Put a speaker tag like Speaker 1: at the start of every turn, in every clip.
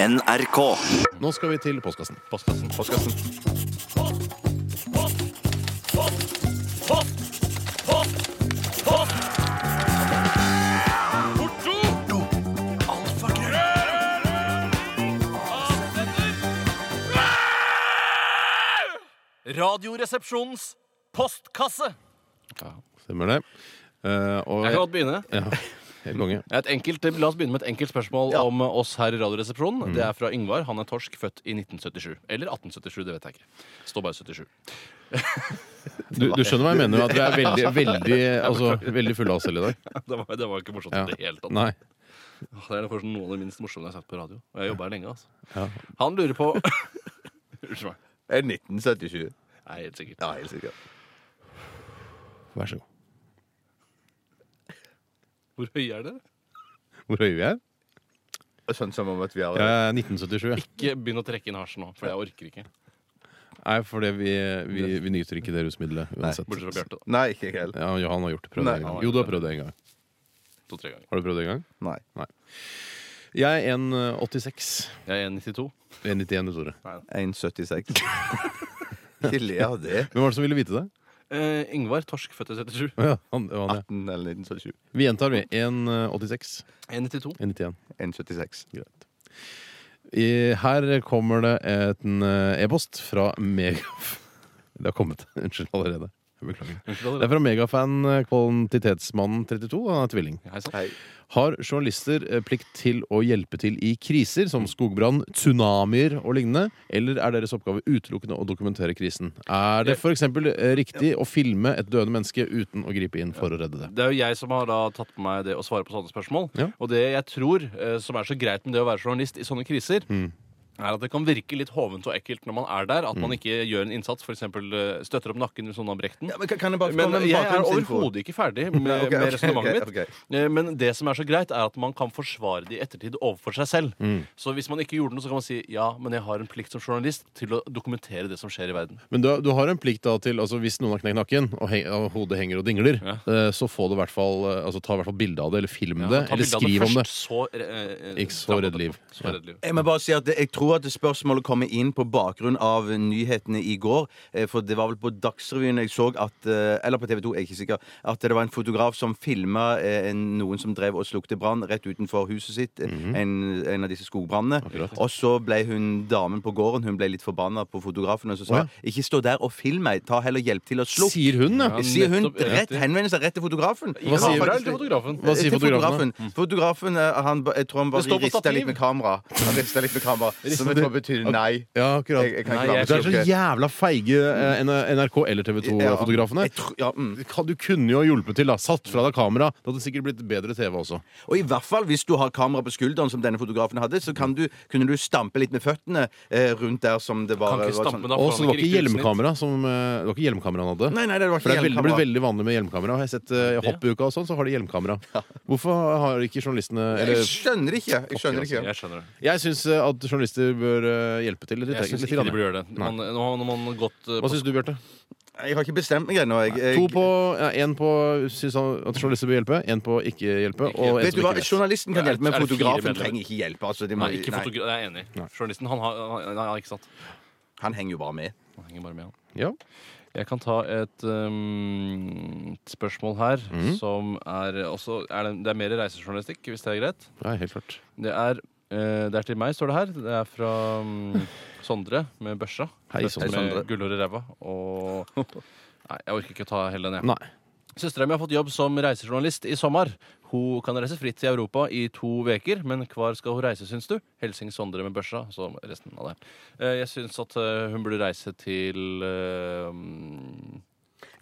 Speaker 1: NRK.
Speaker 2: Nå skal vi til postkassen.
Speaker 3: Postkassen.
Speaker 4: Radioresepsjonens postkasse.
Speaker 2: Stemmer det. Eh, og,
Speaker 3: Jeg kan godt begynne.
Speaker 2: ja, helt konge.
Speaker 3: Et enkelt, la oss begynne med et enkelt spørsmål om oss her i Radioresepsjonen. Det
Speaker 4: Mm.
Speaker 3: er fra Yngvar. Han er torsk, født i 1977. Eller 1877, det vet jeg ikke. Står bare 77.
Speaker 2: Du, du skjønner hva jeg mener? At vi er veldig, veldig, altså, veldig fulle av oss selv i dag.
Speaker 3: Det var, det var ikke morsomt i
Speaker 2: Ja.
Speaker 3: det hele tatt.
Speaker 2: Nei.
Speaker 3: Det er faktisk noe av det minst morsomme jeg har sagt på radio. Og jeg jobber her lenge, altså. Han lurer på Unnskyld meg.
Speaker 5: Er 1977.
Speaker 3: Nei, helt sikkert.
Speaker 5: Ja, helt sikkert.
Speaker 2: Vær så god.
Speaker 3: Hvor høye er dere?
Speaker 2: Hvor høye vi er?
Speaker 5: Sånn som om at vi er
Speaker 2: Jeg er 1977. ja.
Speaker 3: Ikke begynn å trekke inn hasjen nå, for jeg orker ikke.
Speaker 2: Nei, fordi vi, vi, vi nyter ikke det rusmiddelet uansett.
Speaker 3: Bortsett fra Bjarte, da.
Speaker 5: Nei, ikke helt.
Speaker 2: Ja, Johan har gjort det. Prøvd det
Speaker 5: Nei.
Speaker 2: en gang. Jo, du har prøvd det en gang.
Speaker 3: To-tre ganger.
Speaker 2: Har du prøvd det en gang?
Speaker 5: Nei.
Speaker 2: Jeg er eh, 1,86.
Speaker 3: Jeg er 1,92.
Speaker 2: 1,91 du, Tore.
Speaker 5: 1,76. Ikke le av det.
Speaker 2: Hvem var det som ville vite det?
Speaker 3: Eh, Yngvar, torsk, født i 77.
Speaker 2: Å Ja, han, det var han, ja.
Speaker 5: 18 eller 1977.
Speaker 2: Vi gjentar, vi. eh, 1,86.
Speaker 3: 1,92.
Speaker 2: 1,91.
Speaker 5: 1,76.
Speaker 2: Greit. I, her kommer det et- en eh, e-post fra Megaf... Det har kommet. Unnskyld allerede. Jeg beklager. Det er fra megafan eh, Kvalitetsmannen 32. Han er tvilling.
Speaker 3: Hei sann.
Speaker 5: Hei.
Speaker 2: Har journalister eh, plikt til å hjelpe til i kriser som skogbrann, tsunamier og lignende? Eller er deres oppgave utelukkende å dokumentere krisen? Er det f.eks. riktig å filme et døende menneske uten å gripe inn for å redde det?
Speaker 3: Det er jo jeg som har da tatt på meg det å svare på sånne spørsmål.
Speaker 2: Ja.
Speaker 3: Og det jeg tror eh, som er så greit med det å være journalist i sånne kriser, er at det kan virke litt hovent og ekkelt når man er der. At man ikke gjør en innsats, f.eks. støtter opp nakken eller sånn av brekten.
Speaker 5: Ja, men kan- kan jeg bare
Speaker 3: Men
Speaker 5: komme med
Speaker 3: jeg er
Speaker 5: bakgrunnsinfo?
Speaker 3: overhodet ikke ferdig med,
Speaker 5: Nei, ok,
Speaker 3: med
Speaker 5: ok,
Speaker 3: resonnementet
Speaker 5: ok,
Speaker 3: mitt. Eh, Men det som er så greit, er at man kan forsvare det i ettertid overfor seg selv. Så hvis man ikke gjorde noe, så kan man si ja, men jeg har en plikt som journalist til å dokumentere det som skjer i verden.
Speaker 2: Men du, du har en plikt da til altså Hvis noen har knekt nakken, og, heng, og hodet henger og dingler, eh, så få det i hvert fall, eh, altså, ta i hvert fall bilde av det, eller film det,
Speaker 3: Ta
Speaker 2: eller
Speaker 3: bilde av
Speaker 2: skriv om det.
Speaker 3: først, Så, eh, eh,
Speaker 2: Ikke så redd liv.
Speaker 3: Så redd liv.
Speaker 5: Jeg må bare si at det- jeg tror at det spørsmålet kommer inn på bakgrunn av nyhetene i går. eh, For det var vel på Dagsrevyen jeg så at eh, Eller på TV 2, jeg er ikke sikker. At det var en fotograf som filma noen som drev og slukte brann rett utenfor huset sitt. eh,
Speaker 2: Mhm.
Speaker 5: en, en av disse skogbrannene. Og så ble hun damen på gården Hun ble litt forbanna på fotografen og så sa
Speaker 2: Å, ja.
Speaker 5: Ikke stå der og film meg, ta heller hjelp til å slukke.
Speaker 2: Sier hun, ja.
Speaker 3: Ja.
Speaker 5: Sier hun
Speaker 3: nettopp,
Speaker 5: rett
Speaker 3: riktig.
Speaker 5: henvender seg rett til fotografen.
Speaker 2: Hva sier-
Speaker 3: Kameraet til fotografen?
Speaker 2: Hva sier
Speaker 5: Eh, til
Speaker 2: fotografen, Mm.
Speaker 5: fotografen? Fotografen, eh, han, ba- jeg tror han
Speaker 3: Det står
Speaker 5: bare
Speaker 3: på
Speaker 5: rista litt
Speaker 3: stativ.
Speaker 5: med kamera. Han rista litt med kamera, Som jeg tror betyr nei.
Speaker 2: Ja, akkurat.
Speaker 5: Jeg, jeg kan
Speaker 3: Nei,
Speaker 5: ikke være
Speaker 3: jeg
Speaker 5: med
Speaker 2: Du er
Speaker 5: på
Speaker 2: så
Speaker 5: det.
Speaker 2: jævla feige eh, N- NRK eller TV
Speaker 5: Ja,
Speaker 2: 2-fotografene.
Speaker 5: jeg tror- ja, mm.
Speaker 2: Du kunne jo hjulpet til. da Satt fra deg kamera. Det hadde sikkert blitt bedre TV også.
Speaker 5: Og i hvert fall hvis du har kamera på skulderen, som denne fotografen hadde, så kan du, kunne du stampe litt med føttene eh, rundt der som det var,
Speaker 3: Kan ikke
Speaker 5: var
Speaker 3: stampe, da.
Speaker 2: Og
Speaker 3: får
Speaker 2: så
Speaker 3: han
Speaker 2: det var ikke
Speaker 3: riktig utsnitt.
Speaker 2: hjelmkamera som, eh, det var ikke hjelmkamera han hadde.
Speaker 5: Nei, nei, det var
Speaker 2: For
Speaker 5: ikke
Speaker 2: det er veldig, blir
Speaker 5: hjelmkamera.
Speaker 2: veldig vanlig med hjelmkamera. Har jeg sett eh, hoppuka og sånn, så har de hjelmkamera. Hvorfor har ikke journalistene eller, altså,
Speaker 5: Jeg skjønner det ikke. Jeg skjønner det ikke.
Speaker 3: Jeg skjønner det.
Speaker 2: Jeg syns eh, at journalister bør eh, hjelpe til litt.
Speaker 3: Jeg syns
Speaker 2: litt
Speaker 3: ikke
Speaker 2: grann.
Speaker 3: de burde gjøre det.
Speaker 2: Nei.
Speaker 3: Man, nå har man gått eh,
Speaker 2: Hva
Speaker 3: på
Speaker 2: syns du, Bjarte?
Speaker 5: Jeg har ikke bestemt meg ennå. Jeg,
Speaker 2: To
Speaker 5: jeg,
Speaker 2: på ja, Én på syns han at journalister bør hjelpe, én på ikke hjelpe, og én
Speaker 5: vet du
Speaker 2: som
Speaker 5: hva,
Speaker 2: ikke vet.
Speaker 5: Journalisten kan
Speaker 3: Ja,
Speaker 5: hjelpe, men
Speaker 3: er det fire
Speaker 5: fotografen
Speaker 3: medlemmer?
Speaker 5: trenger ikke hjelp. Altså, det må,
Speaker 3: Nei, ikke
Speaker 5: nei,
Speaker 3: fotograf. Jeg er enig. Journalisten, han har han- han- han- Ikke sant?
Speaker 5: han henger jo bare med.
Speaker 3: Han henger bare med, han.
Speaker 2: Ja.
Speaker 3: Jeg kan ta et, ehm, et spørsmål her som er også er det, det er mer reisejournalistikk, hvis det er greit.
Speaker 2: Nei, helt klart.
Speaker 3: Det er, eh, det er til meg, står det her. Det er fra mm, Sondre med børsa.
Speaker 2: Hei,
Speaker 3: Født
Speaker 2: Sondre.
Speaker 3: Med gullhår i ræva og Nei, jeg orker ikke å ta hele
Speaker 5: sånn.
Speaker 3: den, jeg.
Speaker 2: Nei.
Speaker 3: Søstera mi har fått jobb som reisejournalist i sommer. Hun kan reise fritt til Europa i to uker, men hvor skal hun reise, syns du? Helsing Sondre med børsa, så resten av det. Eh, Jeg syns at eh, hun burde reise til eh, mm,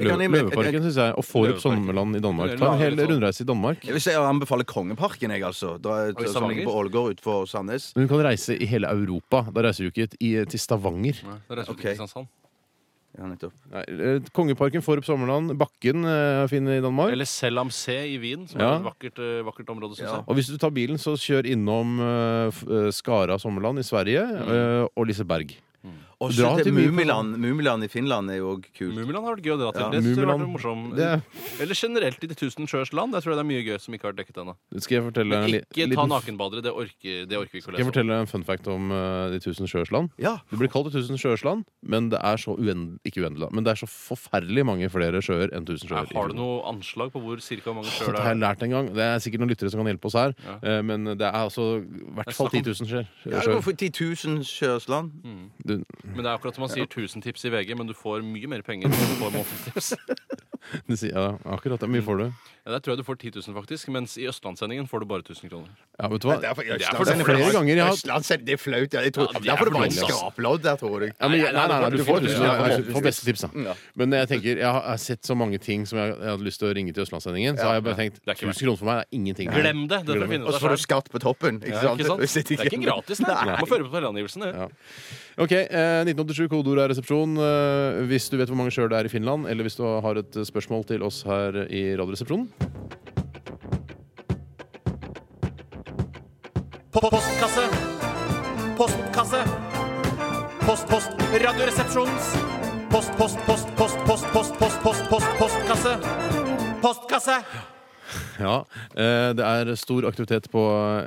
Speaker 5: Jeg kan-
Speaker 2: Løve- Løveparken, syns jeg. Og Forup
Speaker 3: Løveparken.
Speaker 2: Sommerland i Danmark. Ta en hel rundreise i Danmark.
Speaker 5: Jeg vil si jeg anbefaler Kongeparken, jeg, altså. Da,
Speaker 3: i
Speaker 5: som ligger på Ålgård utenfor Sandnes.
Speaker 2: Men hun kan reise i hele Europa. Da reiser du ikke i- til Stavanger.
Speaker 3: Nei, da reiser hun
Speaker 5: Ok.
Speaker 3: til Kristiansand.
Speaker 5: Ja, nettopp.
Speaker 2: Nei, eh, Kongeparken, Forup Sommerland, Bakken eh, fin i Danmark.
Speaker 3: Eller Selam Se i Wien, som
Speaker 2: Ja.
Speaker 3: er et vakkert, eh, vakkert område, syns
Speaker 5: Ja.
Speaker 3: jeg.
Speaker 2: Og hvis du tar bilen,
Speaker 3: Mm.
Speaker 2: så kjør innom eh, f- eh, Skara Sommerland i Sverige eh, og Liseberg.
Speaker 5: Også
Speaker 2: Dra til
Speaker 5: til
Speaker 2: mye-
Speaker 5: Mumiland. Mumiland i Finland er jo òg kult.
Speaker 3: Mumiland har vært gøy å dra til.
Speaker 5: Ja,
Speaker 3: det synes jeg har vært
Speaker 2: Mumiland.
Speaker 3: morsom.
Speaker 2: Det-
Speaker 3: Eller generelt i De tusen sjøers land. Der tror jeg det er mye gøy som ikke har vært dekket ennå.
Speaker 2: Skal jeg fortelle en, li
Speaker 3: Ikke ta altså.
Speaker 2: liten,
Speaker 3: nakenbadere. Det orker, det orker vi ikke
Speaker 2: skal
Speaker 3: å
Speaker 2: jeg
Speaker 3: lese om.
Speaker 2: fortelle en fun fact om eh, De tusen sjøers land?
Speaker 5: Ja.
Speaker 2: Det blir kalt Det tusen sjøers land, men det er så uendelig Ikke uendelig, da, men det er så forferdelig mange flere sjøer enn tusen sjøer.
Speaker 3: Nei, Har du noe anslag på hvor cirka hvor mange
Speaker 2: Dette
Speaker 3: sjøer det
Speaker 2: har jeg
Speaker 3: er?
Speaker 2: lært en gang. Det er sikkert noen lyttere som kan hjelpe oss her.
Speaker 3: Ja.
Speaker 2: eh, Men det er altså i hvert fall 10
Speaker 3: Det
Speaker 2: 000
Speaker 3: er
Speaker 2: sjøer.
Speaker 5: Ja, det går for 10 000 sjøsland.
Speaker 3: Mm.
Speaker 2: Du-
Speaker 3: Men det er akkurat som man sier 1000 tips i VG, men du får mye mer penger enn du får månedstips.
Speaker 2: du sier- Ja, akkurat. Hvor mye får du?
Speaker 3: Ja, der tror jeg du får 10 000, faktisk, mens i Østlandssendingen får du bare 1000 kroner.
Speaker 2: Ja, vet du hva?
Speaker 1: Derfor,
Speaker 3: Det er for- det er
Speaker 2: flere ganger jeg har-
Speaker 1: Østlandssendt, det er flaut. ja, Jeg tror,
Speaker 3: Ja, det er
Speaker 1: derfor det
Speaker 3: for
Speaker 1: var en
Speaker 3: dårlig, ass.
Speaker 1: skraplodd der, tror jeg.
Speaker 2: Ja, men,
Speaker 3: Nei,
Speaker 2: nei,
Speaker 3: nei,
Speaker 2: nei,
Speaker 3: nei,
Speaker 2: nei,
Speaker 3: du
Speaker 2: du
Speaker 3: får
Speaker 2: får
Speaker 3: tusen,
Speaker 2: tusen.
Speaker 3: ja,
Speaker 2: ja,
Speaker 1: ja,
Speaker 2: får beste tips, da. Men jeg tenker, jeg har, jeg har sett så mange ting som jeg, jeg hadde lyst til å ringe til Østlandssendingen. Så har jeg bare tenkt
Speaker 3: Det er ikke
Speaker 2: 1000 kroner for meg det er ingenting.
Speaker 3: Glem det! Det får du
Speaker 2: Glem det.
Speaker 3: finne
Speaker 1: Og
Speaker 3: ut
Speaker 1: så
Speaker 3: av
Speaker 1: får du
Speaker 3: selv.
Speaker 1: skatt på toppen. Ikke
Speaker 3: Ja,
Speaker 1: sant?
Speaker 3: ikke sant?
Speaker 1: Hvis
Speaker 3: Det er ikke
Speaker 1: igjen-
Speaker 3: gratis, nei. Du må føre på selvangivelsen. det.
Speaker 2: Ja. Ok, eh, 1987 kodeord er resepsjon. Eh, hvis du vet hvor mange sjøl det er i Finland, eller hvis du har et spørsmål til oss her i Radioresepsjonen.
Speaker 4: Po- Postkasse. Postkasse. Post, post, radioresepsjons. Post, post, post, post, post, post, post, post, post, postkasse. Postkasse.
Speaker 2: Ja, eh, det er stor aktivitet på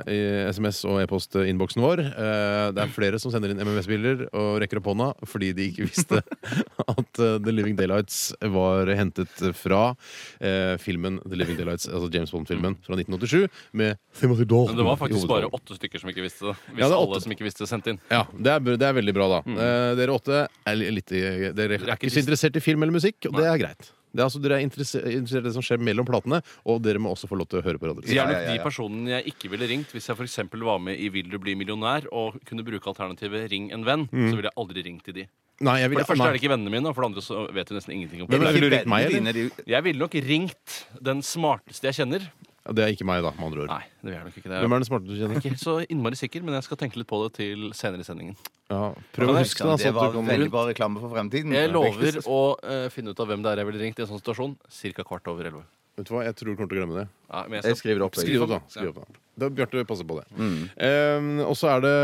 Speaker 2: eh, SMS- og e-postinnboksen vår. Eh, det er flere som sender inn MMS-bilder og rekker opp hånda fordi de ikke visste at eh, The Living Daylights var hentet fra eh, filmen The Living Daylights, altså James Bond-filmen fra 1987 med Timothy Dalton.
Speaker 3: Men det var
Speaker 2: i
Speaker 3: faktisk bare
Speaker 2: hovedrollen.
Speaker 3: åtte stykker som ikke visste det. Hvis
Speaker 2: Ja, det er
Speaker 3: alle
Speaker 2: åtte.
Speaker 3: som ikke visste, sendte inn.
Speaker 2: Ja, det er, det er veldig bra, da.
Speaker 3: Mm.
Speaker 2: Eh, dere åtte er li- litt, i- dere er ikke så interessert i film eller musikk, og det er greit. Det er, altså, dere er interesse- interessert i det som skjer mellom platene, og dere må også få lov til å høre på Radio
Speaker 3: De
Speaker 2: Resepsjonen.
Speaker 3: er nok
Speaker 1: ja, ja,
Speaker 3: de
Speaker 1: ja.
Speaker 3: personene jeg ikke ville ringt hvis jeg for eksempel var med i Vil du bli millionær og kunne bruke alternativet ring en venn. Så ville jeg aldri ringt til de.
Speaker 2: Nei, jeg Mm. vil-
Speaker 3: For det første
Speaker 2: nei.
Speaker 3: er det ikke vennene mine, og for det andre så vet de nesten ingenting om
Speaker 2: Hvem er
Speaker 3: det.
Speaker 2: det? Ville du ringt meg, eller?
Speaker 5: Vennene dine, de-
Speaker 3: Jeg ville nok ringt den smarteste jeg kjenner.
Speaker 2: Ja, Det er ikke meg, da, med andre ord.
Speaker 3: Nei, det vil jeg nok ikke. Det
Speaker 2: Hvem
Speaker 3: er
Speaker 2: er den smarteste du kjenner?
Speaker 3: ikke så innmari sikker, men jeg skal tenke litt på det til senere i sendingen.
Speaker 2: Ja, prøv å huske
Speaker 3: altså,
Speaker 2: det.
Speaker 5: Det
Speaker 2: Sånn
Speaker 5: var
Speaker 2: at du kan...
Speaker 5: veldig bra reklame for fremtiden.
Speaker 3: Jeg lover å eh, finne ut av hvem det er jeg ville ringt i en sånn situasjon. Cirka kvart over elleve.
Speaker 2: Vet du hva, jeg tror du kommer til å glemme det.
Speaker 3: Ja, men
Speaker 5: Jeg skriver opp.
Speaker 2: Skriv opp, da. Skriv opp, da. da Bjarte passer på det.
Speaker 3: Mm.
Speaker 2: Eh, og så er det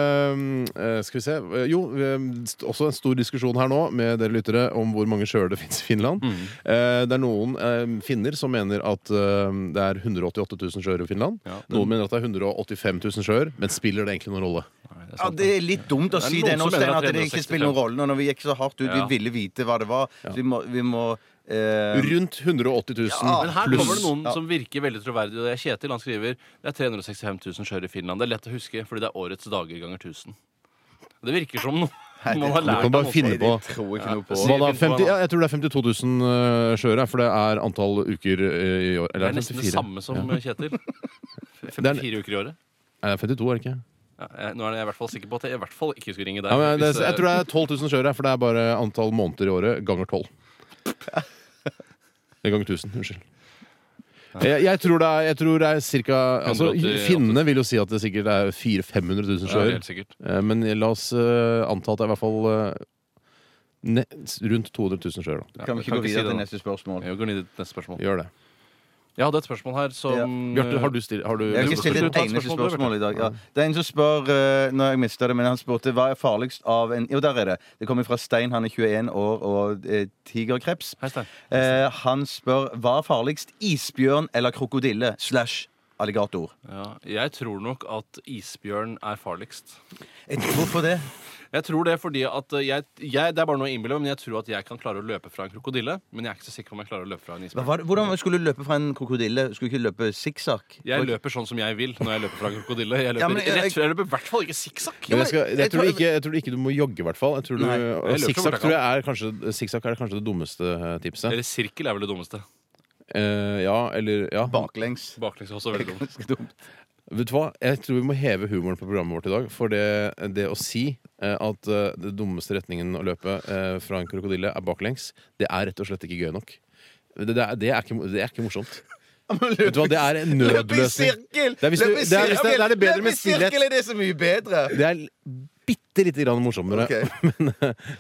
Speaker 2: eh, Skal vi se eh, Jo, eh, st- også en stor diskusjon her nå med dere lyttere om hvor mange sjøer det fins i Finland.
Speaker 3: Mm.
Speaker 2: Eh, det er noen eh, finner som mener at eh, det er 188 000 sjøer i Finland.
Speaker 3: Ja.
Speaker 2: Noen mener at det er 185 000 sjøer, men spiller det egentlig noen rolle?
Speaker 3: Nei, det er
Speaker 5: Ja,
Speaker 3: sant.
Speaker 5: Det er litt dumt å
Speaker 3: Det er
Speaker 5: si
Speaker 3: noen
Speaker 5: det nå,
Speaker 3: som mener at
Speaker 5: Stein, at det ikke
Speaker 3: 365.
Speaker 5: spiller noen rolle. Når vi gikk så hardt ut, vi
Speaker 3: Ja.
Speaker 5: ville vite hva det var. Så vi må, vi må eh,
Speaker 2: Rundt 180 000
Speaker 5: Ja,
Speaker 3: Men her kommer det
Speaker 2: pluss.
Speaker 3: noen som virker veldig troverdig. Og det er Kjetil han skriver det er 365 000 sjøer i Finland. Det er lett å huske fordi det er årets dager ganger 1000. Det virker som noe man har
Speaker 2: Du
Speaker 3: lært
Speaker 2: kan
Speaker 3: av
Speaker 2: bare
Speaker 3: noen
Speaker 2: finne
Speaker 3: som-
Speaker 2: på
Speaker 5: tror ikke noe på
Speaker 3: Ja.
Speaker 2: Hva da,
Speaker 3: Finn på
Speaker 2: 50,
Speaker 3: en, da.
Speaker 2: ja, jeg tror det er 52 000 eh, sjøer, her, for det er antall uker eh, i år.
Speaker 3: Det
Speaker 2: Eller er
Speaker 3: er
Speaker 2: det
Speaker 3: nesten det
Speaker 2: 54?
Speaker 3: samme som eh, Kjetil.
Speaker 2: er en-
Speaker 3: Fire uker i året.
Speaker 2: Nei, det Eh, er 52, er det ikke?
Speaker 3: Ja, jeg, nå er jeg i hvert fall sikker på at jeg i hvert fall ikke skulle ringe deg.
Speaker 2: Ja, men det,
Speaker 3: hvis,
Speaker 2: er- jeg
Speaker 3: eh,
Speaker 2: tror det er 12 000 sjøer, her, for det er bare antall måneder i året ganger 12. Det er ganger 1000, unnskyld. Jeg, jeg tror det er, jeg tror det er cirka altså,
Speaker 3: 188
Speaker 2: Finnene vil jo si at det sikkert er 400 000-500 000
Speaker 3: ja, det er
Speaker 2: sjøer.
Speaker 3: helt sikkert.
Speaker 2: Eh, Men la oss eh, anta at det er i hvert fall eh, ne, rundt 200 000 sjøer. da.
Speaker 5: Kan vi ikke gå
Speaker 3: si
Speaker 5: videre
Speaker 3: det
Speaker 5: til
Speaker 3: nå.
Speaker 5: neste spørsmål?
Speaker 3: Jeg går ned til neste spørsmål.
Speaker 2: Gjør det.
Speaker 3: Jeg hadde et spørsmål her som eh,
Speaker 2: Bjarte, har du stilt har du-
Speaker 5: Jeg har
Speaker 3: Mm. Du-
Speaker 5: ikke stilt
Speaker 3: du- du-
Speaker 5: et
Speaker 3: ta et
Speaker 5: eneste
Speaker 3: spørsmål,
Speaker 5: spørsmål i dag. Ja. Det er en som spør eh, Nå har jeg mista det, men han spurte hva er farligst av en Jo, der er det. Det kommer fra Stein, han er 21 år og eh, tigerkreps.
Speaker 3: Hei, Stein.
Speaker 5: Eh, han spør hva er farligst, isbjørn eller krokodille slash alligator?
Speaker 3: Ja, jeg tror nok at isbjørn er farligst.
Speaker 5: Eh, Hvorfor det?
Speaker 3: Jeg tror det fordi at eh, jeg, jeg Det er bare noe jeg innbiller meg, men jeg tror at jeg kan klare å løpe fra en krokodille. Men jeg er ikke så sikker på om jeg klarer å løpe fra en
Speaker 5: Hva
Speaker 3: isbjørn.
Speaker 5: var det? Hvordan skulle du løpe fra en krokodille? Skulle du ikke løpe sikksakk?
Speaker 3: Jeg løper sånn som jeg vil når jeg løper fra en krokodille. Jeg løper,
Speaker 5: Ja, men jeg-
Speaker 3: rett, fra- jeg løper i hvert fall ikke sikksakk.
Speaker 2: Men jeg, skal, jeg,
Speaker 5: jeg
Speaker 2: tror
Speaker 5: tror-
Speaker 2: ikke, jeg tror ikke du må jogge, i hvert fall. Jeg tror du,
Speaker 5: Nei, jeg
Speaker 2: og
Speaker 3: løper så fort
Speaker 2: Sikksakk
Speaker 3: jeg
Speaker 2: tror jeg er kanskje, sikksakk er kanskje det dummeste eh, tipset.
Speaker 3: Eller sirkel er vel det dummeste.
Speaker 2: Eh, ja, eller ja.
Speaker 5: Baklengs.
Speaker 3: Baklengs er også veldig dumt.
Speaker 5: Ganske dumt.
Speaker 2: Vet du hva? Jeg tror vi må heve humoren på programmet vårt i dag. For det, det å si eh, at eh, det dummeste retningen å løpe eh, fra en krokodille er baklengs, det er rett og slett ikke gøy nok. Det, det, er, det, er, ikke, det er ikke morsomt. Vet du hva? Det er en
Speaker 1: Løp i
Speaker 2: nødløsning.
Speaker 1: sirkel!
Speaker 2: Det er hvis du-
Speaker 1: Løp i
Speaker 2: det er hvis det-
Speaker 1: sirkel!
Speaker 2: det er det bedre
Speaker 1: Løp
Speaker 2: med
Speaker 1: i
Speaker 2: stillhet.
Speaker 1: sirkel er det så mye bedre!
Speaker 2: Det er bitte lite grann morsommere.
Speaker 1: Ok.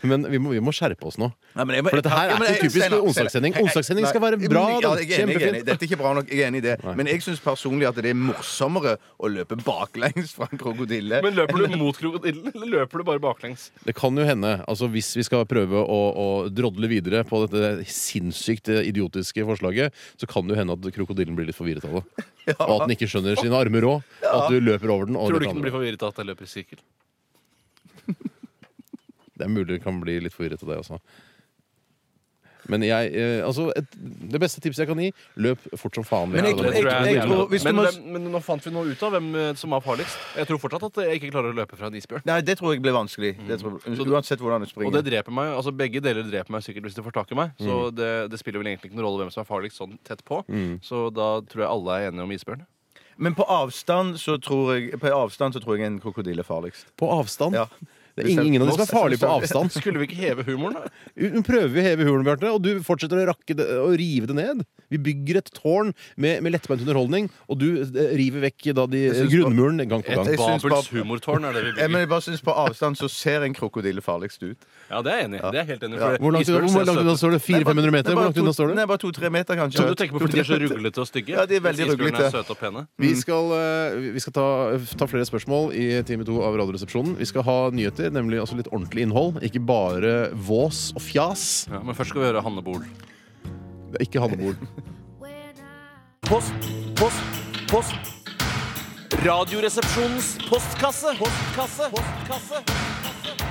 Speaker 2: Men, men vi, må, vi må skjerpe oss nå.
Speaker 5: Nei, men jeg må-
Speaker 2: For dette her
Speaker 1: Ja,
Speaker 2: er
Speaker 1: men jeg-
Speaker 2: ikke typisk
Speaker 1: Steinar,
Speaker 2: onsdagssending.
Speaker 1: Steinar,
Speaker 2: Onsdagssending
Speaker 1: nei,
Speaker 2: skal være bra.
Speaker 1: ja,
Speaker 2: da.
Speaker 1: jeg er enig, jeg er enig.
Speaker 2: Kjempefint.
Speaker 1: Dette er ikke bra nok. Jeg er enig i det. Men jeg syns personlig at det er morsommere å løpe baklengs fra en krokodille.
Speaker 3: Men løper du mot krokodillen, eller løper du bare baklengs?
Speaker 2: Det kan jo hende, altså hvis vi skal prøve å, å drodle videre på dette sinnssykt eh, idiotiske forslaget, så kan det jo hende at krokodillen blir litt forvirret av det. Og at den ikke skjønner sine armer òg. At du løper over den. Og
Speaker 3: Tror
Speaker 2: det,
Speaker 3: du ikke den
Speaker 2: andre.
Speaker 3: blir forvirret av at jeg løper i sirkel?
Speaker 2: det er mulig den kan bli litt forvirret av det også. Men jeg, eh, altså et, det beste tipset jeg kan gi, løp fort som faen.
Speaker 5: Men
Speaker 2: Ja,
Speaker 5: jeg tror-
Speaker 2: det-
Speaker 5: jeg- jeg tror- hvis du
Speaker 3: men,
Speaker 5: må-
Speaker 3: hvem, men nå fant vi nå ut av hvem eh, som er farligst. Jeg tror fortsatt at jeg ikke klarer å løpe fra en isbjørn.
Speaker 5: Nei, det tror jeg blir vanskelig.
Speaker 2: Mm.
Speaker 5: Det tror, uansett hvordan du springer.
Speaker 3: Og det dreper meg, altså Begge deler dreper meg sikkert hvis de får tak i meg. Så
Speaker 2: Mm.
Speaker 3: det, det spiller vel egentlig ikke noen rolle hvem som er farligst sånn tett på. Så da tror jeg alle er enige om isbjørn.
Speaker 5: Men på avstand så tror jeg, på avstand så tror jeg en krokodille er farligst.
Speaker 2: På avstand.
Speaker 5: Ja.
Speaker 2: Det er ingen, ingen av dem som er farlig på avstand.
Speaker 3: Skulle vi ikke heve humoren, da?
Speaker 2: Hun prøver vi å heve hulen, Bjarte, og du fortsetter å, rakke det, å rive det ned. Vi bygger et tårn med, med lettbeint underholdning, og du eh, river vekk da de, eh,
Speaker 5: synes
Speaker 2: grunnmuren gang på gang.
Speaker 5: Jeg synes
Speaker 3: Babels
Speaker 5: bare-
Speaker 3: humortårn er det vi
Speaker 5: Jeg, men
Speaker 3: bygger.
Speaker 5: jeg bare synes På avstand så ser en krokodille farligst ut.
Speaker 3: Ja, det er jeg enig i. Det er jeg helt enig i. for
Speaker 2: Hvor langt,
Speaker 3: isbjørn
Speaker 2: hvor
Speaker 3: ser
Speaker 2: langt unna
Speaker 3: søt ut.
Speaker 2: står det? 400-500 meter? Hvor langt unna står det?
Speaker 5: Nei, bare to-tre meter, kanskje.
Speaker 3: Så du tenker på fordi de er så ruglete og stygge?
Speaker 5: Ja, de er veldig
Speaker 3: mens isbjørnene
Speaker 5: ruglete.
Speaker 3: er søte og pene.
Speaker 2: Vi skal, eh, vi skal ta, ta flere spørsmål i time to av Radioresepsjonen. Vi skal ha nyheter, nemlig også litt ordentlig innhold. Ikke bare vås og fjas.
Speaker 3: Ja, men først skal vi høre Hanne Bol.
Speaker 2: Det er ikke Hannebol.
Speaker 4: Post, post, post. Radioresepsjonens postkasse. Postkasse. Postkasse.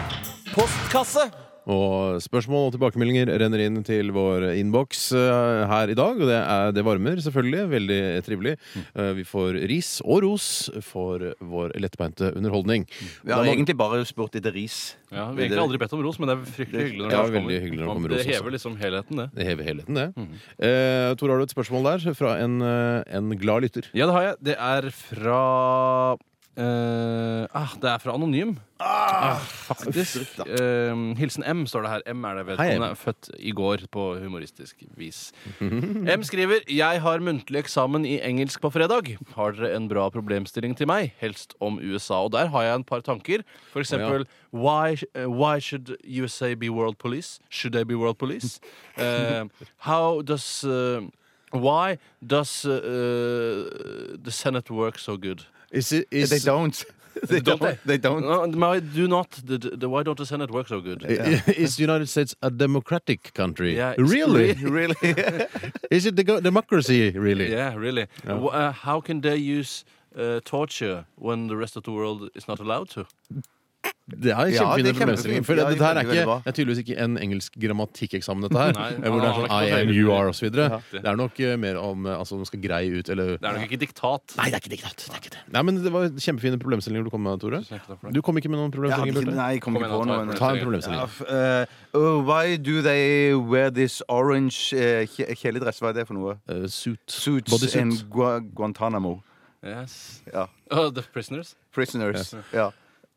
Speaker 4: Postkasse.
Speaker 2: Og spørsmål og tilbakemeldinger renner inn til vår innboks eh, her i dag. Og det, er, det varmer selvfølgelig. Veldig trivelig. Eh, vi får ris og ros for vår lettbeinte underholdning.
Speaker 5: Vi har egentlig bare spurt etter ris.
Speaker 3: Ja, vi har egentlig aldri bedt om ros, men det er fryktelig hyggelig
Speaker 2: Ja,
Speaker 3: når det kommer.
Speaker 2: veldig hyggelig når det kommer
Speaker 3: det
Speaker 2: ros altså. også.
Speaker 3: hever liksom helheten, det.
Speaker 2: Det hever helheten, det. Eh, Tor, har du et spørsmål der fra en, eh, en glad lytter?
Speaker 3: Ja, det har jeg. Det er fra eh, ah, Det er fra Anonym. Ah, faktisk. Eh, hilsen M, står det her. M er det
Speaker 2: Hei,
Speaker 3: vedkommende.
Speaker 2: M.
Speaker 3: Født i går, på humoristisk vis. M skriver Jeg har muntlig eksamen i engelsk på fredag. Har dere en bra problemstilling til meg? Helst om USA. Og der har jeg en par tanker. For eksempel why, eh, why should USA be world police? Should they be world police? Eh, how does eh, Why does eh, eh, the Senate work so good?
Speaker 5: They don't. They
Speaker 3: Don't they?
Speaker 5: don't. They don't.
Speaker 3: No, my- do not. The, the, why don't the Senate work so good?
Speaker 2: Is the United States a democratic country?
Speaker 3: Yeah, it's-
Speaker 2: really?
Speaker 5: Really?
Speaker 2: Is it the go- democracy, really?
Speaker 3: Yeah, really. Wh- Uh, how can they use uh, torture when the rest of the world is not allowed to?
Speaker 2: Det er
Speaker 5: Ja,
Speaker 2: kjempefine
Speaker 5: det er
Speaker 2: problemstillinger.
Speaker 5: kjempefint.
Speaker 2: For
Speaker 5: Ja,
Speaker 2: dette her er,
Speaker 5: veldig,
Speaker 2: ikke,
Speaker 5: veldig bra.
Speaker 2: det er tydeligvis ikke en engelsk grammatikkeksamen, dette her.
Speaker 3: Nei,
Speaker 2: hvor det er
Speaker 3: han
Speaker 2: sånn
Speaker 3: har
Speaker 2: I
Speaker 3: ikke
Speaker 2: am,
Speaker 3: fått
Speaker 2: you
Speaker 3: høyere.
Speaker 2: are, osv. Det er nok eh, mer om eh, altså, om man skal greie ut, eller
Speaker 3: Det er nok ikke diktat.
Speaker 2: Nei, det er ikke det. Knut. Det er ikke det. Nei, men det var kjempefine problemstillinger du kom med, Tore.
Speaker 3: Tusen hjertelig takk for det.
Speaker 2: Du kom ikke med noen
Speaker 5: Jeg hadde
Speaker 2: problemstillinger,
Speaker 5: ikke-
Speaker 2: Bjarte.
Speaker 5: Nei, jeg kom
Speaker 3: Kom
Speaker 5: ikke
Speaker 3: igjen, da,
Speaker 5: på
Speaker 3: ta
Speaker 5: noe.
Speaker 3: et
Speaker 2: Ta en
Speaker 5: Ja,
Speaker 2: problemstilling.
Speaker 5: f- eh, oh, why do they wear this orange uh, kjeledress? Hva er det for noe?
Speaker 2: Eh, suit.
Speaker 5: Suits
Speaker 2: Bodysuit.
Speaker 5: in Gua Guantánamo.
Speaker 3: Yes.
Speaker 5: Ja.
Speaker 3: Oh, the prisoners?
Speaker 5: Prisoners. Ja.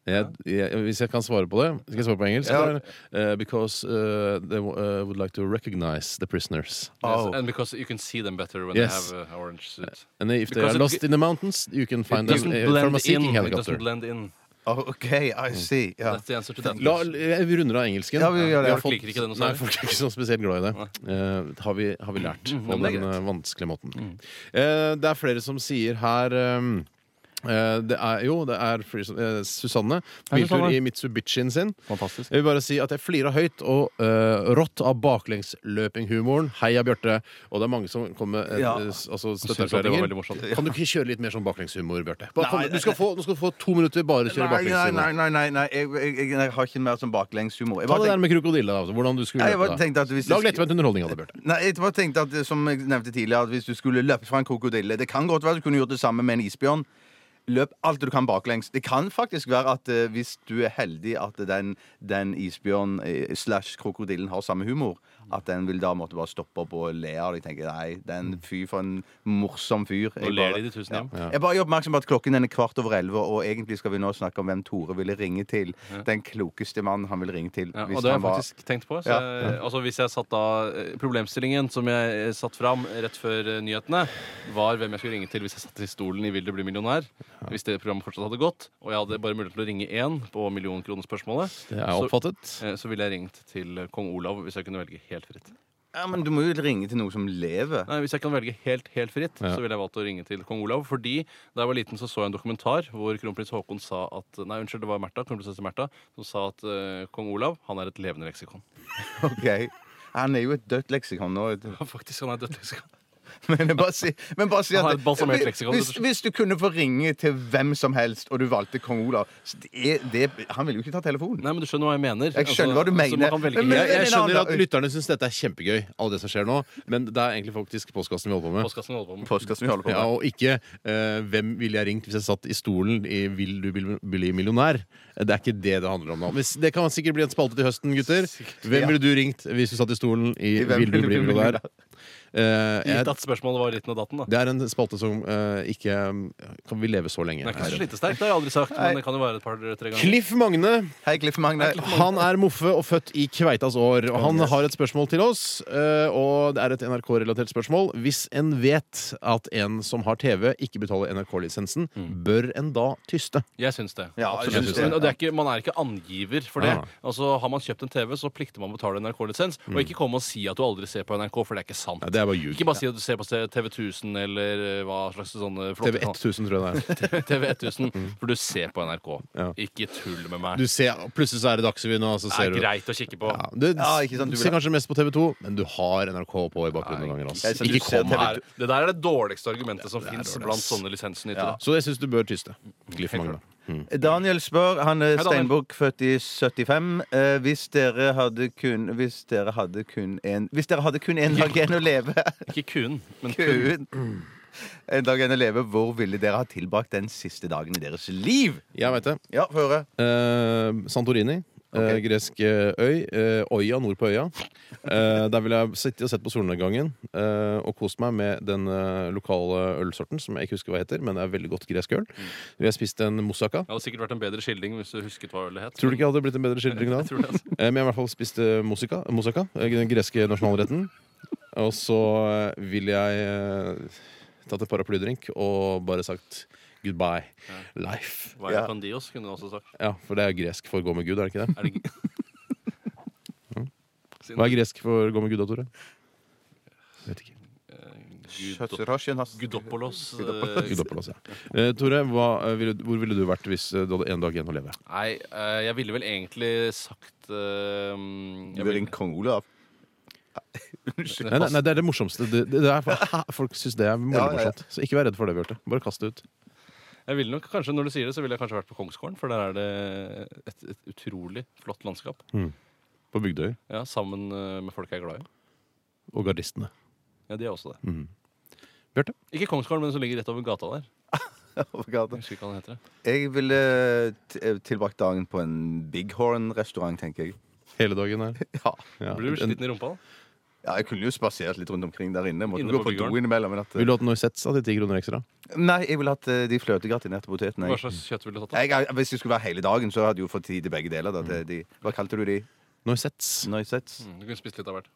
Speaker 2: Jeg, jeg, hvis jeg kan svare på det Skal jeg svare på engelsk?
Speaker 5: Ja.
Speaker 2: eller? Eh, because eh, they w- eh, would like to recognize the prisoners.
Speaker 5: Oh.
Speaker 3: Yes. And because you can see them better when
Speaker 2: Yes.
Speaker 3: they have an orange suit.
Speaker 2: And if they
Speaker 3: Because
Speaker 2: are
Speaker 3: it
Speaker 2: lost
Speaker 3: g-
Speaker 2: in the mountains, you can
Speaker 3: It
Speaker 2: find them
Speaker 3: doesn't
Speaker 2: eh,
Speaker 3: blend
Speaker 2: from a seeking
Speaker 3: in. It
Speaker 2: helicopter.
Speaker 3: doesn't blend in.
Speaker 5: Oh, OK, I see. Ja.
Speaker 3: That's the answer to that.
Speaker 2: La, eh, vi runder av engelsken.
Speaker 5: Ja, vi gjør det.
Speaker 2: har
Speaker 5: Folk
Speaker 2: fått-
Speaker 3: liker ikke den også,
Speaker 2: Nei,
Speaker 3: eller?
Speaker 2: folk er ikke så spesielt glad i det. Eh, har, vi, har vi lært på
Speaker 3: Mm, men det er Mm.
Speaker 2: den eh, vanskelige måten. Eh, det er flere som sier her ehm, eh, det er, jo, det er flere som- eh, Susanne.
Speaker 3: Hei,
Speaker 2: Biltur
Speaker 3: Susanne.
Speaker 2: i Mitsubishien sin.
Speaker 3: Fantastisk.
Speaker 2: Jeg vil bare si at jeg flirer høyt og eh, rått av baklengsløpinghumoren. Heia Bjarte. Og det er mange som kommer med eh,
Speaker 5: Ja.
Speaker 2: s- altså,
Speaker 3: Synes jeg det var
Speaker 2: støtteerklæringer.
Speaker 3: veldig morsomt.
Speaker 2: Kan du ikke kjøre litt mer sånn baklengshumor, Bjarte? Bare kom- Du skal få, nå skal du få to minutter bare kjøre
Speaker 5: Nei, nei,
Speaker 2: baklengshumor.
Speaker 5: nei, nei, nei, nei. Jeg, jeg, jeg, jeg har ikke mer sånn baklengshumor. Jeg
Speaker 2: Ta
Speaker 5: bare
Speaker 2: det
Speaker 5: tenkte-
Speaker 2: der med krokodille, da. altså, Hvordan du skulle
Speaker 5: Nei, jeg
Speaker 2: løpe
Speaker 5: bare
Speaker 2: da.
Speaker 5: tenkte at hvis
Speaker 2: Lag
Speaker 5: det-
Speaker 2: lettvint underholdning av det, Bjarte.
Speaker 5: Nei, jeg bare tenkte at som jeg nevnte tidligere At hvis du skulle løpt fra en krokodille Det kan godt være du kunne gjort det samme med en isbjørn Løp alt du kan baklengs Det kan faktisk være at eh, hvis du er heldig At den, den isbjørn eh, slash krokodillen har samme humor At den vil da måtte bare stoppe opp og le av det. Jeg tenker nei, den fy for en morsom fyr. Jeg
Speaker 3: ler
Speaker 5: bare-
Speaker 3: de de tusen hjem.
Speaker 5: Ja. Jeg bare gjør oppmerksom på at klokken den er kvart over elleve, og egentlig skal vi nå snakke om hvem Tore ville ringe til. Den klokeste mannen han vil ringe til.
Speaker 3: Ja,
Speaker 5: hvis
Speaker 3: og det har jeg
Speaker 5: han var-
Speaker 3: faktisk tenkt på. Så
Speaker 5: Ja.
Speaker 3: jeg, altså hvis jeg satt da eh, Problemstillingen som jeg eh, satt fram rett før eh, nyhetene, var hvem jeg skulle ringe til hvis jeg satt i stolen i Vil du bli millionær? Hvis det programmet fortsatt hadde gått, og jeg hadde bare mulighet til å ringe én på millionkronespørsmålet,
Speaker 2: Det er oppfattet.
Speaker 3: så, eh, så ville jeg ringt til kong Olav hvis jeg kunne velge helt fritt.
Speaker 5: Ja, men du må jo ringe til noe som lever.
Speaker 3: Nei, Hvis jeg kan velge helt helt fritt,
Speaker 2: Ja.
Speaker 3: så ville jeg valgt å ringe til kong Olav. Fordi da jeg var liten, så så jeg en dokumentar hvor kronprins Haakon sa at Nei, unnskyld, det var Märtha, kronprinsesse Märtha, som sa at eh, kong Olav han er et levende leksikon.
Speaker 5: Ok. Han er jo et dødt leksikon nå.
Speaker 3: Faktisk, han er et dødt leksikon.
Speaker 5: Men bare si, men bare si at
Speaker 3: Han er et balsamert leksikon,
Speaker 5: hvis,
Speaker 3: rett og slett.
Speaker 5: hvis du kunne få ringe til hvem som helst, og du valgte kong Olav så det er, det, Han ville jo ikke ta telefonen.
Speaker 3: Nei, men du skjønner hva jeg mener.
Speaker 5: Jeg skjønner hva du
Speaker 3: så man
Speaker 5: mener.
Speaker 3: kan velge
Speaker 5: Men- men-
Speaker 2: Jeg,
Speaker 3: helt.
Speaker 2: jeg skjønner at lytterne syns dette er kjempegøy, alt det som skjer nå, men det er egentlig faktisk postkassen vi holder på med.
Speaker 3: Postkassen holder på med.
Speaker 5: Postkassen vi holder på med.
Speaker 2: Ja, og ikke eh, 'Hvem ville jeg ringt hvis jeg satt i stolen i 'Vil du bli- bli millionær'? Det er ikke det det handler om nå. Hvis, det kan sikkert bli en spalte til høsten, gutter. Hvem ville du ringt hvis du satt i stolen i 'Vil du bli millionær'? Eh, jeg,
Speaker 3: Gitt at spørsmålet var liten og datten, da.
Speaker 2: det er en spalte som eh, ikke Kan vi leve så lenge?
Speaker 3: Den er ikke så slitesterk, det har jeg aldri sagt, men det kan jo være et par-tre ganger.
Speaker 2: Cliff Magne
Speaker 5: Hei, Cliff Magne.
Speaker 2: han er moffe og født i kveitas år. Og han har et spørsmål til oss, eh, og det er et NRK-relatert spørsmål. Hvis en vet at en som har TV, ikke betaler NRK-lisensen, bør en da tyste?
Speaker 3: Jeg syns det.
Speaker 5: Ja, jeg
Speaker 3: Absolutt.
Speaker 5: syns det.
Speaker 3: Men, og det er ikke, man er ikke angiver for det.
Speaker 2: Nei.
Speaker 3: Altså, Har man kjøpt en TV, så plikter man å betale NRK-lisens.
Speaker 5: Mm.
Speaker 3: Og ikke komme og si at du aldri ser på NRK, for det er ikke sant.
Speaker 2: Nei, det er bare ljug.
Speaker 3: Ikke bare si at du ser på TV 1000 eller eh, hva slags sånne
Speaker 2: TV
Speaker 3: flotte
Speaker 2: 1000, tror jeg det er.
Speaker 3: TV 1000,
Speaker 5: Mm.
Speaker 3: for du ser på NRK.
Speaker 2: Ja.
Speaker 3: Ikke tull med meg.
Speaker 2: Du ser, plutselig så er det Dagsrevyen, og så
Speaker 3: det
Speaker 2: ser
Speaker 3: er
Speaker 2: du
Speaker 3: greit å kikke på.
Speaker 2: ja, du,
Speaker 5: Ja, ikke sant,
Speaker 2: du
Speaker 5: du vil
Speaker 2: ser
Speaker 5: ha-
Speaker 2: kanskje mest på TV2, men du har NRK på i bakgrunnen noen ganger.
Speaker 5: Jeg
Speaker 2: Altså.
Speaker 5: synes du
Speaker 2: Ikke
Speaker 5: ser
Speaker 2: kom
Speaker 5: TV2.
Speaker 2: her.
Speaker 3: Er, det der er det dårligste argumentet som fins
Speaker 2: dårlig,
Speaker 3: blant sånne lisensnytere.
Speaker 2: Så jeg syns du bør tyste. Cliff Magne.
Speaker 5: Daniel spør, han er
Speaker 3: Daniel.
Speaker 5: steinbukk, født i 75. Eh, hvis dere hadde kun Hvis dere hadde kun en Hvis dere hadde kun en dag igjen å leve
Speaker 3: Ikke kuen, men kuen.
Speaker 5: Kun en dag igjen å leve, hvor ville dere ha tilbrakt den siste dagen i deres liv?
Speaker 2: Jeg veit det.
Speaker 5: Ja, få høre.
Speaker 2: Eh, Santorini. eh,
Speaker 5: Ok.
Speaker 2: gresk eh, øy. eh, øya nord på øya. Eh, der ville jeg sittet og sett på solnedgangen eh, og kost meg med den eh, lokale ølsorten som jeg ikke husker hva heter, men det er veldig godt gresk øl. Vi har spist en moussaka.
Speaker 3: Det hadde sikkert vært en bedre skildring hvis du husket hva ølet het.
Speaker 2: Tror du ikke jeg hadde blitt en bedre skildring da?
Speaker 3: Jeg tror det, altså.
Speaker 2: Eh, Men jeg har i hvert fall spist eh, moussaka, moussaka, eh, den greske nasjonalretten. Og så eh, ville jeg eh, tatt en paraplydrink og bare sagt goodbye, life.
Speaker 3: Hva er det Pandios, kunne du også sagt.
Speaker 2: Ja, for det er gresk for gå med Gud, er det ikke det?
Speaker 3: Er det...
Speaker 2: Hva er gresk for gå med Gud da, Tore? Vet ikke.
Speaker 3: Gudop- Gudopolos eh,
Speaker 2: Gudopolos, ja. Eh, Tore, hva, eh, ville, hvor ville du vært hvis eh, du hadde en dag igjen å leve?
Speaker 3: Nei, eh, jeg ville vel egentlig sagt eh,
Speaker 5: Du
Speaker 3: jeg
Speaker 5: vil
Speaker 3: ville-
Speaker 5: ringe kong Olav.
Speaker 2: Nei, nei, nei, det er det morsomste. Det, det det er, folk syns det er veldig
Speaker 5: Ja, ja, ja.
Speaker 2: morsomt. Så ikke vær redd for det, Bjarte. Bare kast det ut.
Speaker 3: Jeg ville nok kanskje, Når du sier det, så ville jeg kanskje vært på Kongsgården, for der er det et, et utrolig flott landskap.
Speaker 2: På Bygdøy.
Speaker 3: Ja, Sammen eh, med folk jeg er glad i.
Speaker 2: Og gardistene. Mhm.
Speaker 3: Ja, de er også det.
Speaker 2: Bjarte?
Speaker 3: Ikke Kongsgården, men som ligger rett over gata der.
Speaker 5: Over gata.
Speaker 3: Jeg husker ikke hva den heter. jeg.
Speaker 5: Jeg ville t- eh, tilbrakt dagen på en Bighorn-restaurant, tenker jeg.
Speaker 2: Hele dagen her.
Speaker 5: Ja.
Speaker 2: Ja.
Speaker 3: Blir du
Speaker 2: En-
Speaker 3: sliten i rumpa? da?
Speaker 5: ja, Jeg kunne jo spasert litt rundt omkring der inne. Måtte
Speaker 3: Inne
Speaker 5: gå
Speaker 3: på
Speaker 5: på do
Speaker 3: Bighorn.
Speaker 5: innimellom. Men at,
Speaker 2: Vil du hatt Noisets til ti kroner ekstra?
Speaker 5: nei, jeg ville hatt eh, de fløtegratinerte potetene.
Speaker 3: Hva
Speaker 5: Jeg.
Speaker 3: slags kjøtt ville du tatt? da?
Speaker 5: Jeg, jeg, hvis det skulle være hele dagen, så hadde jeg jo fått tid til begge deler. Da, til de, hva kalte du de?
Speaker 2: Noisets.
Speaker 5: Noisets?
Speaker 3: Mm, Du kunne spist litt av hvert.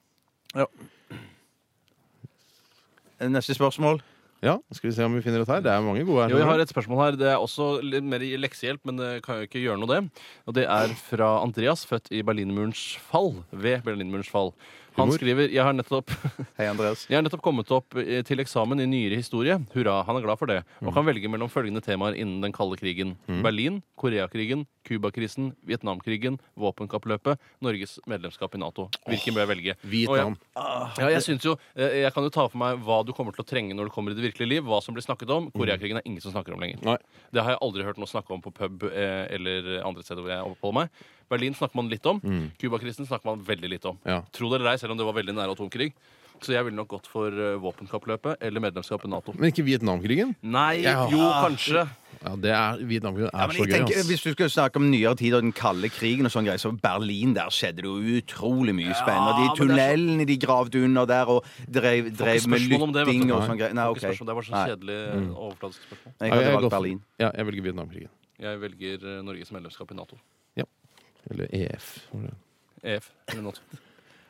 Speaker 3: Mm.
Speaker 5: Neste spørsmål.
Speaker 2: Ja, skal vi se om vi finner et her. Det er mange gode her.
Speaker 3: Jo, jeg har et spørsmål her. Det er også litt mer i leksehjelp, men det kan jo ikke gjøre noe, det. Og det er fra Andreas, født i Berlinmurens fall. Ved Berlinmurens fall. Han
Speaker 2: Humor.
Speaker 3: skriver Jeg har nettopp
Speaker 5: Hei, Andreas.
Speaker 3: Jeg har nettopp kommet opp eh, til eksamen i nyere historie. Hurra, han er glad for det. Og kan velge mellom følgende temaer innen den kalde krigen. Berlin, Koreakrigen, Cuba-krisen, Vietnamkrigen, våpenkappløpet, Norges medlemskap i Nato. Hvilken bør jeg velge?
Speaker 2: Vietnam.
Speaker 3: Og jeg, ja, jeg, synes jo, eh, jeg kan jo ta for meg hva du kommer til å trenge når du kommer i det virkelige liv. Hva som blir snakket om. Koreakrigen er ingen som snakker om lenger.
Speaker 2: Nei.
Speaker 3: Det har jeg aldri hørt noe snakke om på pub eh, eller andre steder hvor jeg oppholder meg. Berlin snakker man litt om. Cuba-krisen snakker man veldig litt om.
Speaker 2: Ja.
Speaker 3: Tro det eller ei, selv om det var veldig nære atomkrig. Så jeg ville nok gått for eh, våpenkappløpet eller medlemskap i Nato.
Speaker 2: Men ikke Vietnamkrigen?
Speaker 3: Nei,
Speaker 2: Ja.
Speaker 3: jo, kanskje.
Speaker 2: Ja, det er, Vietnamkrigen er
Speaker 5: Ja, men
Speaker 2: så
Speaker 5: jeg
Speaker 2: gøy,
Speaker 5: tenker,
Speaker 2: ass.
Speaker 5: Hvis du skal snakke om nyere tid og den kalde krigen, og sånn greier, så Berlin der skjedde det jo utrolig mye
Speaker 3: men
Speaker 5: spennende. Og de
Speaker 3: det er så-
Speaker 5: tunnelene de gravde under der, og drev,
Speaker 3: Får
Speaker 5: drev
Speaker 3: ikke
Speaker 5: med
Speaker 3: spørsmål om det, vet
Speaker 5: lytting
Speaker 3: du.
Speaker 5: og sånn greier. Nei,
Speaker 3: Får
Speaker 5: OK.
Speaker 3: ikke spørsmål. Det var så
Speaker 5: Nei.
Speaker 3: kjedelig eh, overfladisk spørsmål.
Speaker 5: Jeg
Speaker 2: Ja,
Speaker 5: hadde
Speaker 2: jeg,
Speaker 5: valgt
Speaker 2: går for-
Speaker 5: Berlin.
Speaker 2: ja, jeg velger Vietnamkrigen.
Speaker 3: Jeg velger eh, Norges medlemskap i Nato.
Speaker 2: Eller EF. hvor det-
Speaker 3: EF eller Nato.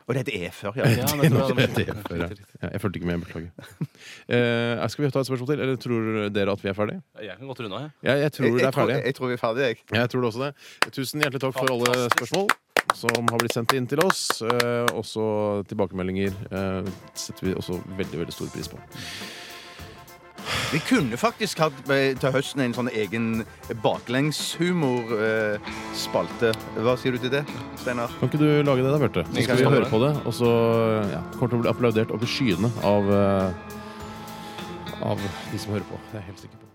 Speaker 5: Og det heter E-før,
Speaker 3: Ja,
Speaker 5: ja.
Speaker 3: men jeg tror
Speaker 2: Nato-
Speaker 3: det var-
Speaker 2: ETF, E ja. Ja, jeg fulgte ikke med, beklager. Eh, skal vi ta et spørsmål til, eller tror dere at vi er ferdige?
Speaker 3: Jeg kan godt runde av, jeg.
Speaker 2: Ja, jeg tror det
Speaker 1: jeg,
Speaker 2: er
Speaker 1: tror,
Speaker 2: ferdig.
Speaker 1: jeg tror vi er ferdige, jeg.
Speaker 2: Jeg tror det også det. Tusen hjertelig takk for alle
Speaker 3: Fantastisk.
Speaker 2: spørsmål som har blitt sendt inn til oss. Eh, også tilbakemeldinger eh, setter vi også veldig, veldig stor pris på.
Speaker 5: Vi kunne faktisk hatt eh, til høsten en sånn egen baklengshumor-spalte. Hva sier du til det, Steinar?
Speaker 2: Kan ikke du lage det da, Bjarte? Så
Speaker 3: Jeg
Speaker 2: skal
Speaker 3: kan
Speaker 2: vi
Speaker 3: gjøre
Speaker 2: høre
Speaker 3: det.
Speaker 2: på det, og så ja, kommer til å bli applaudert opp i skyene av, eh, av de som hører på. Det er jeg helt sikker på.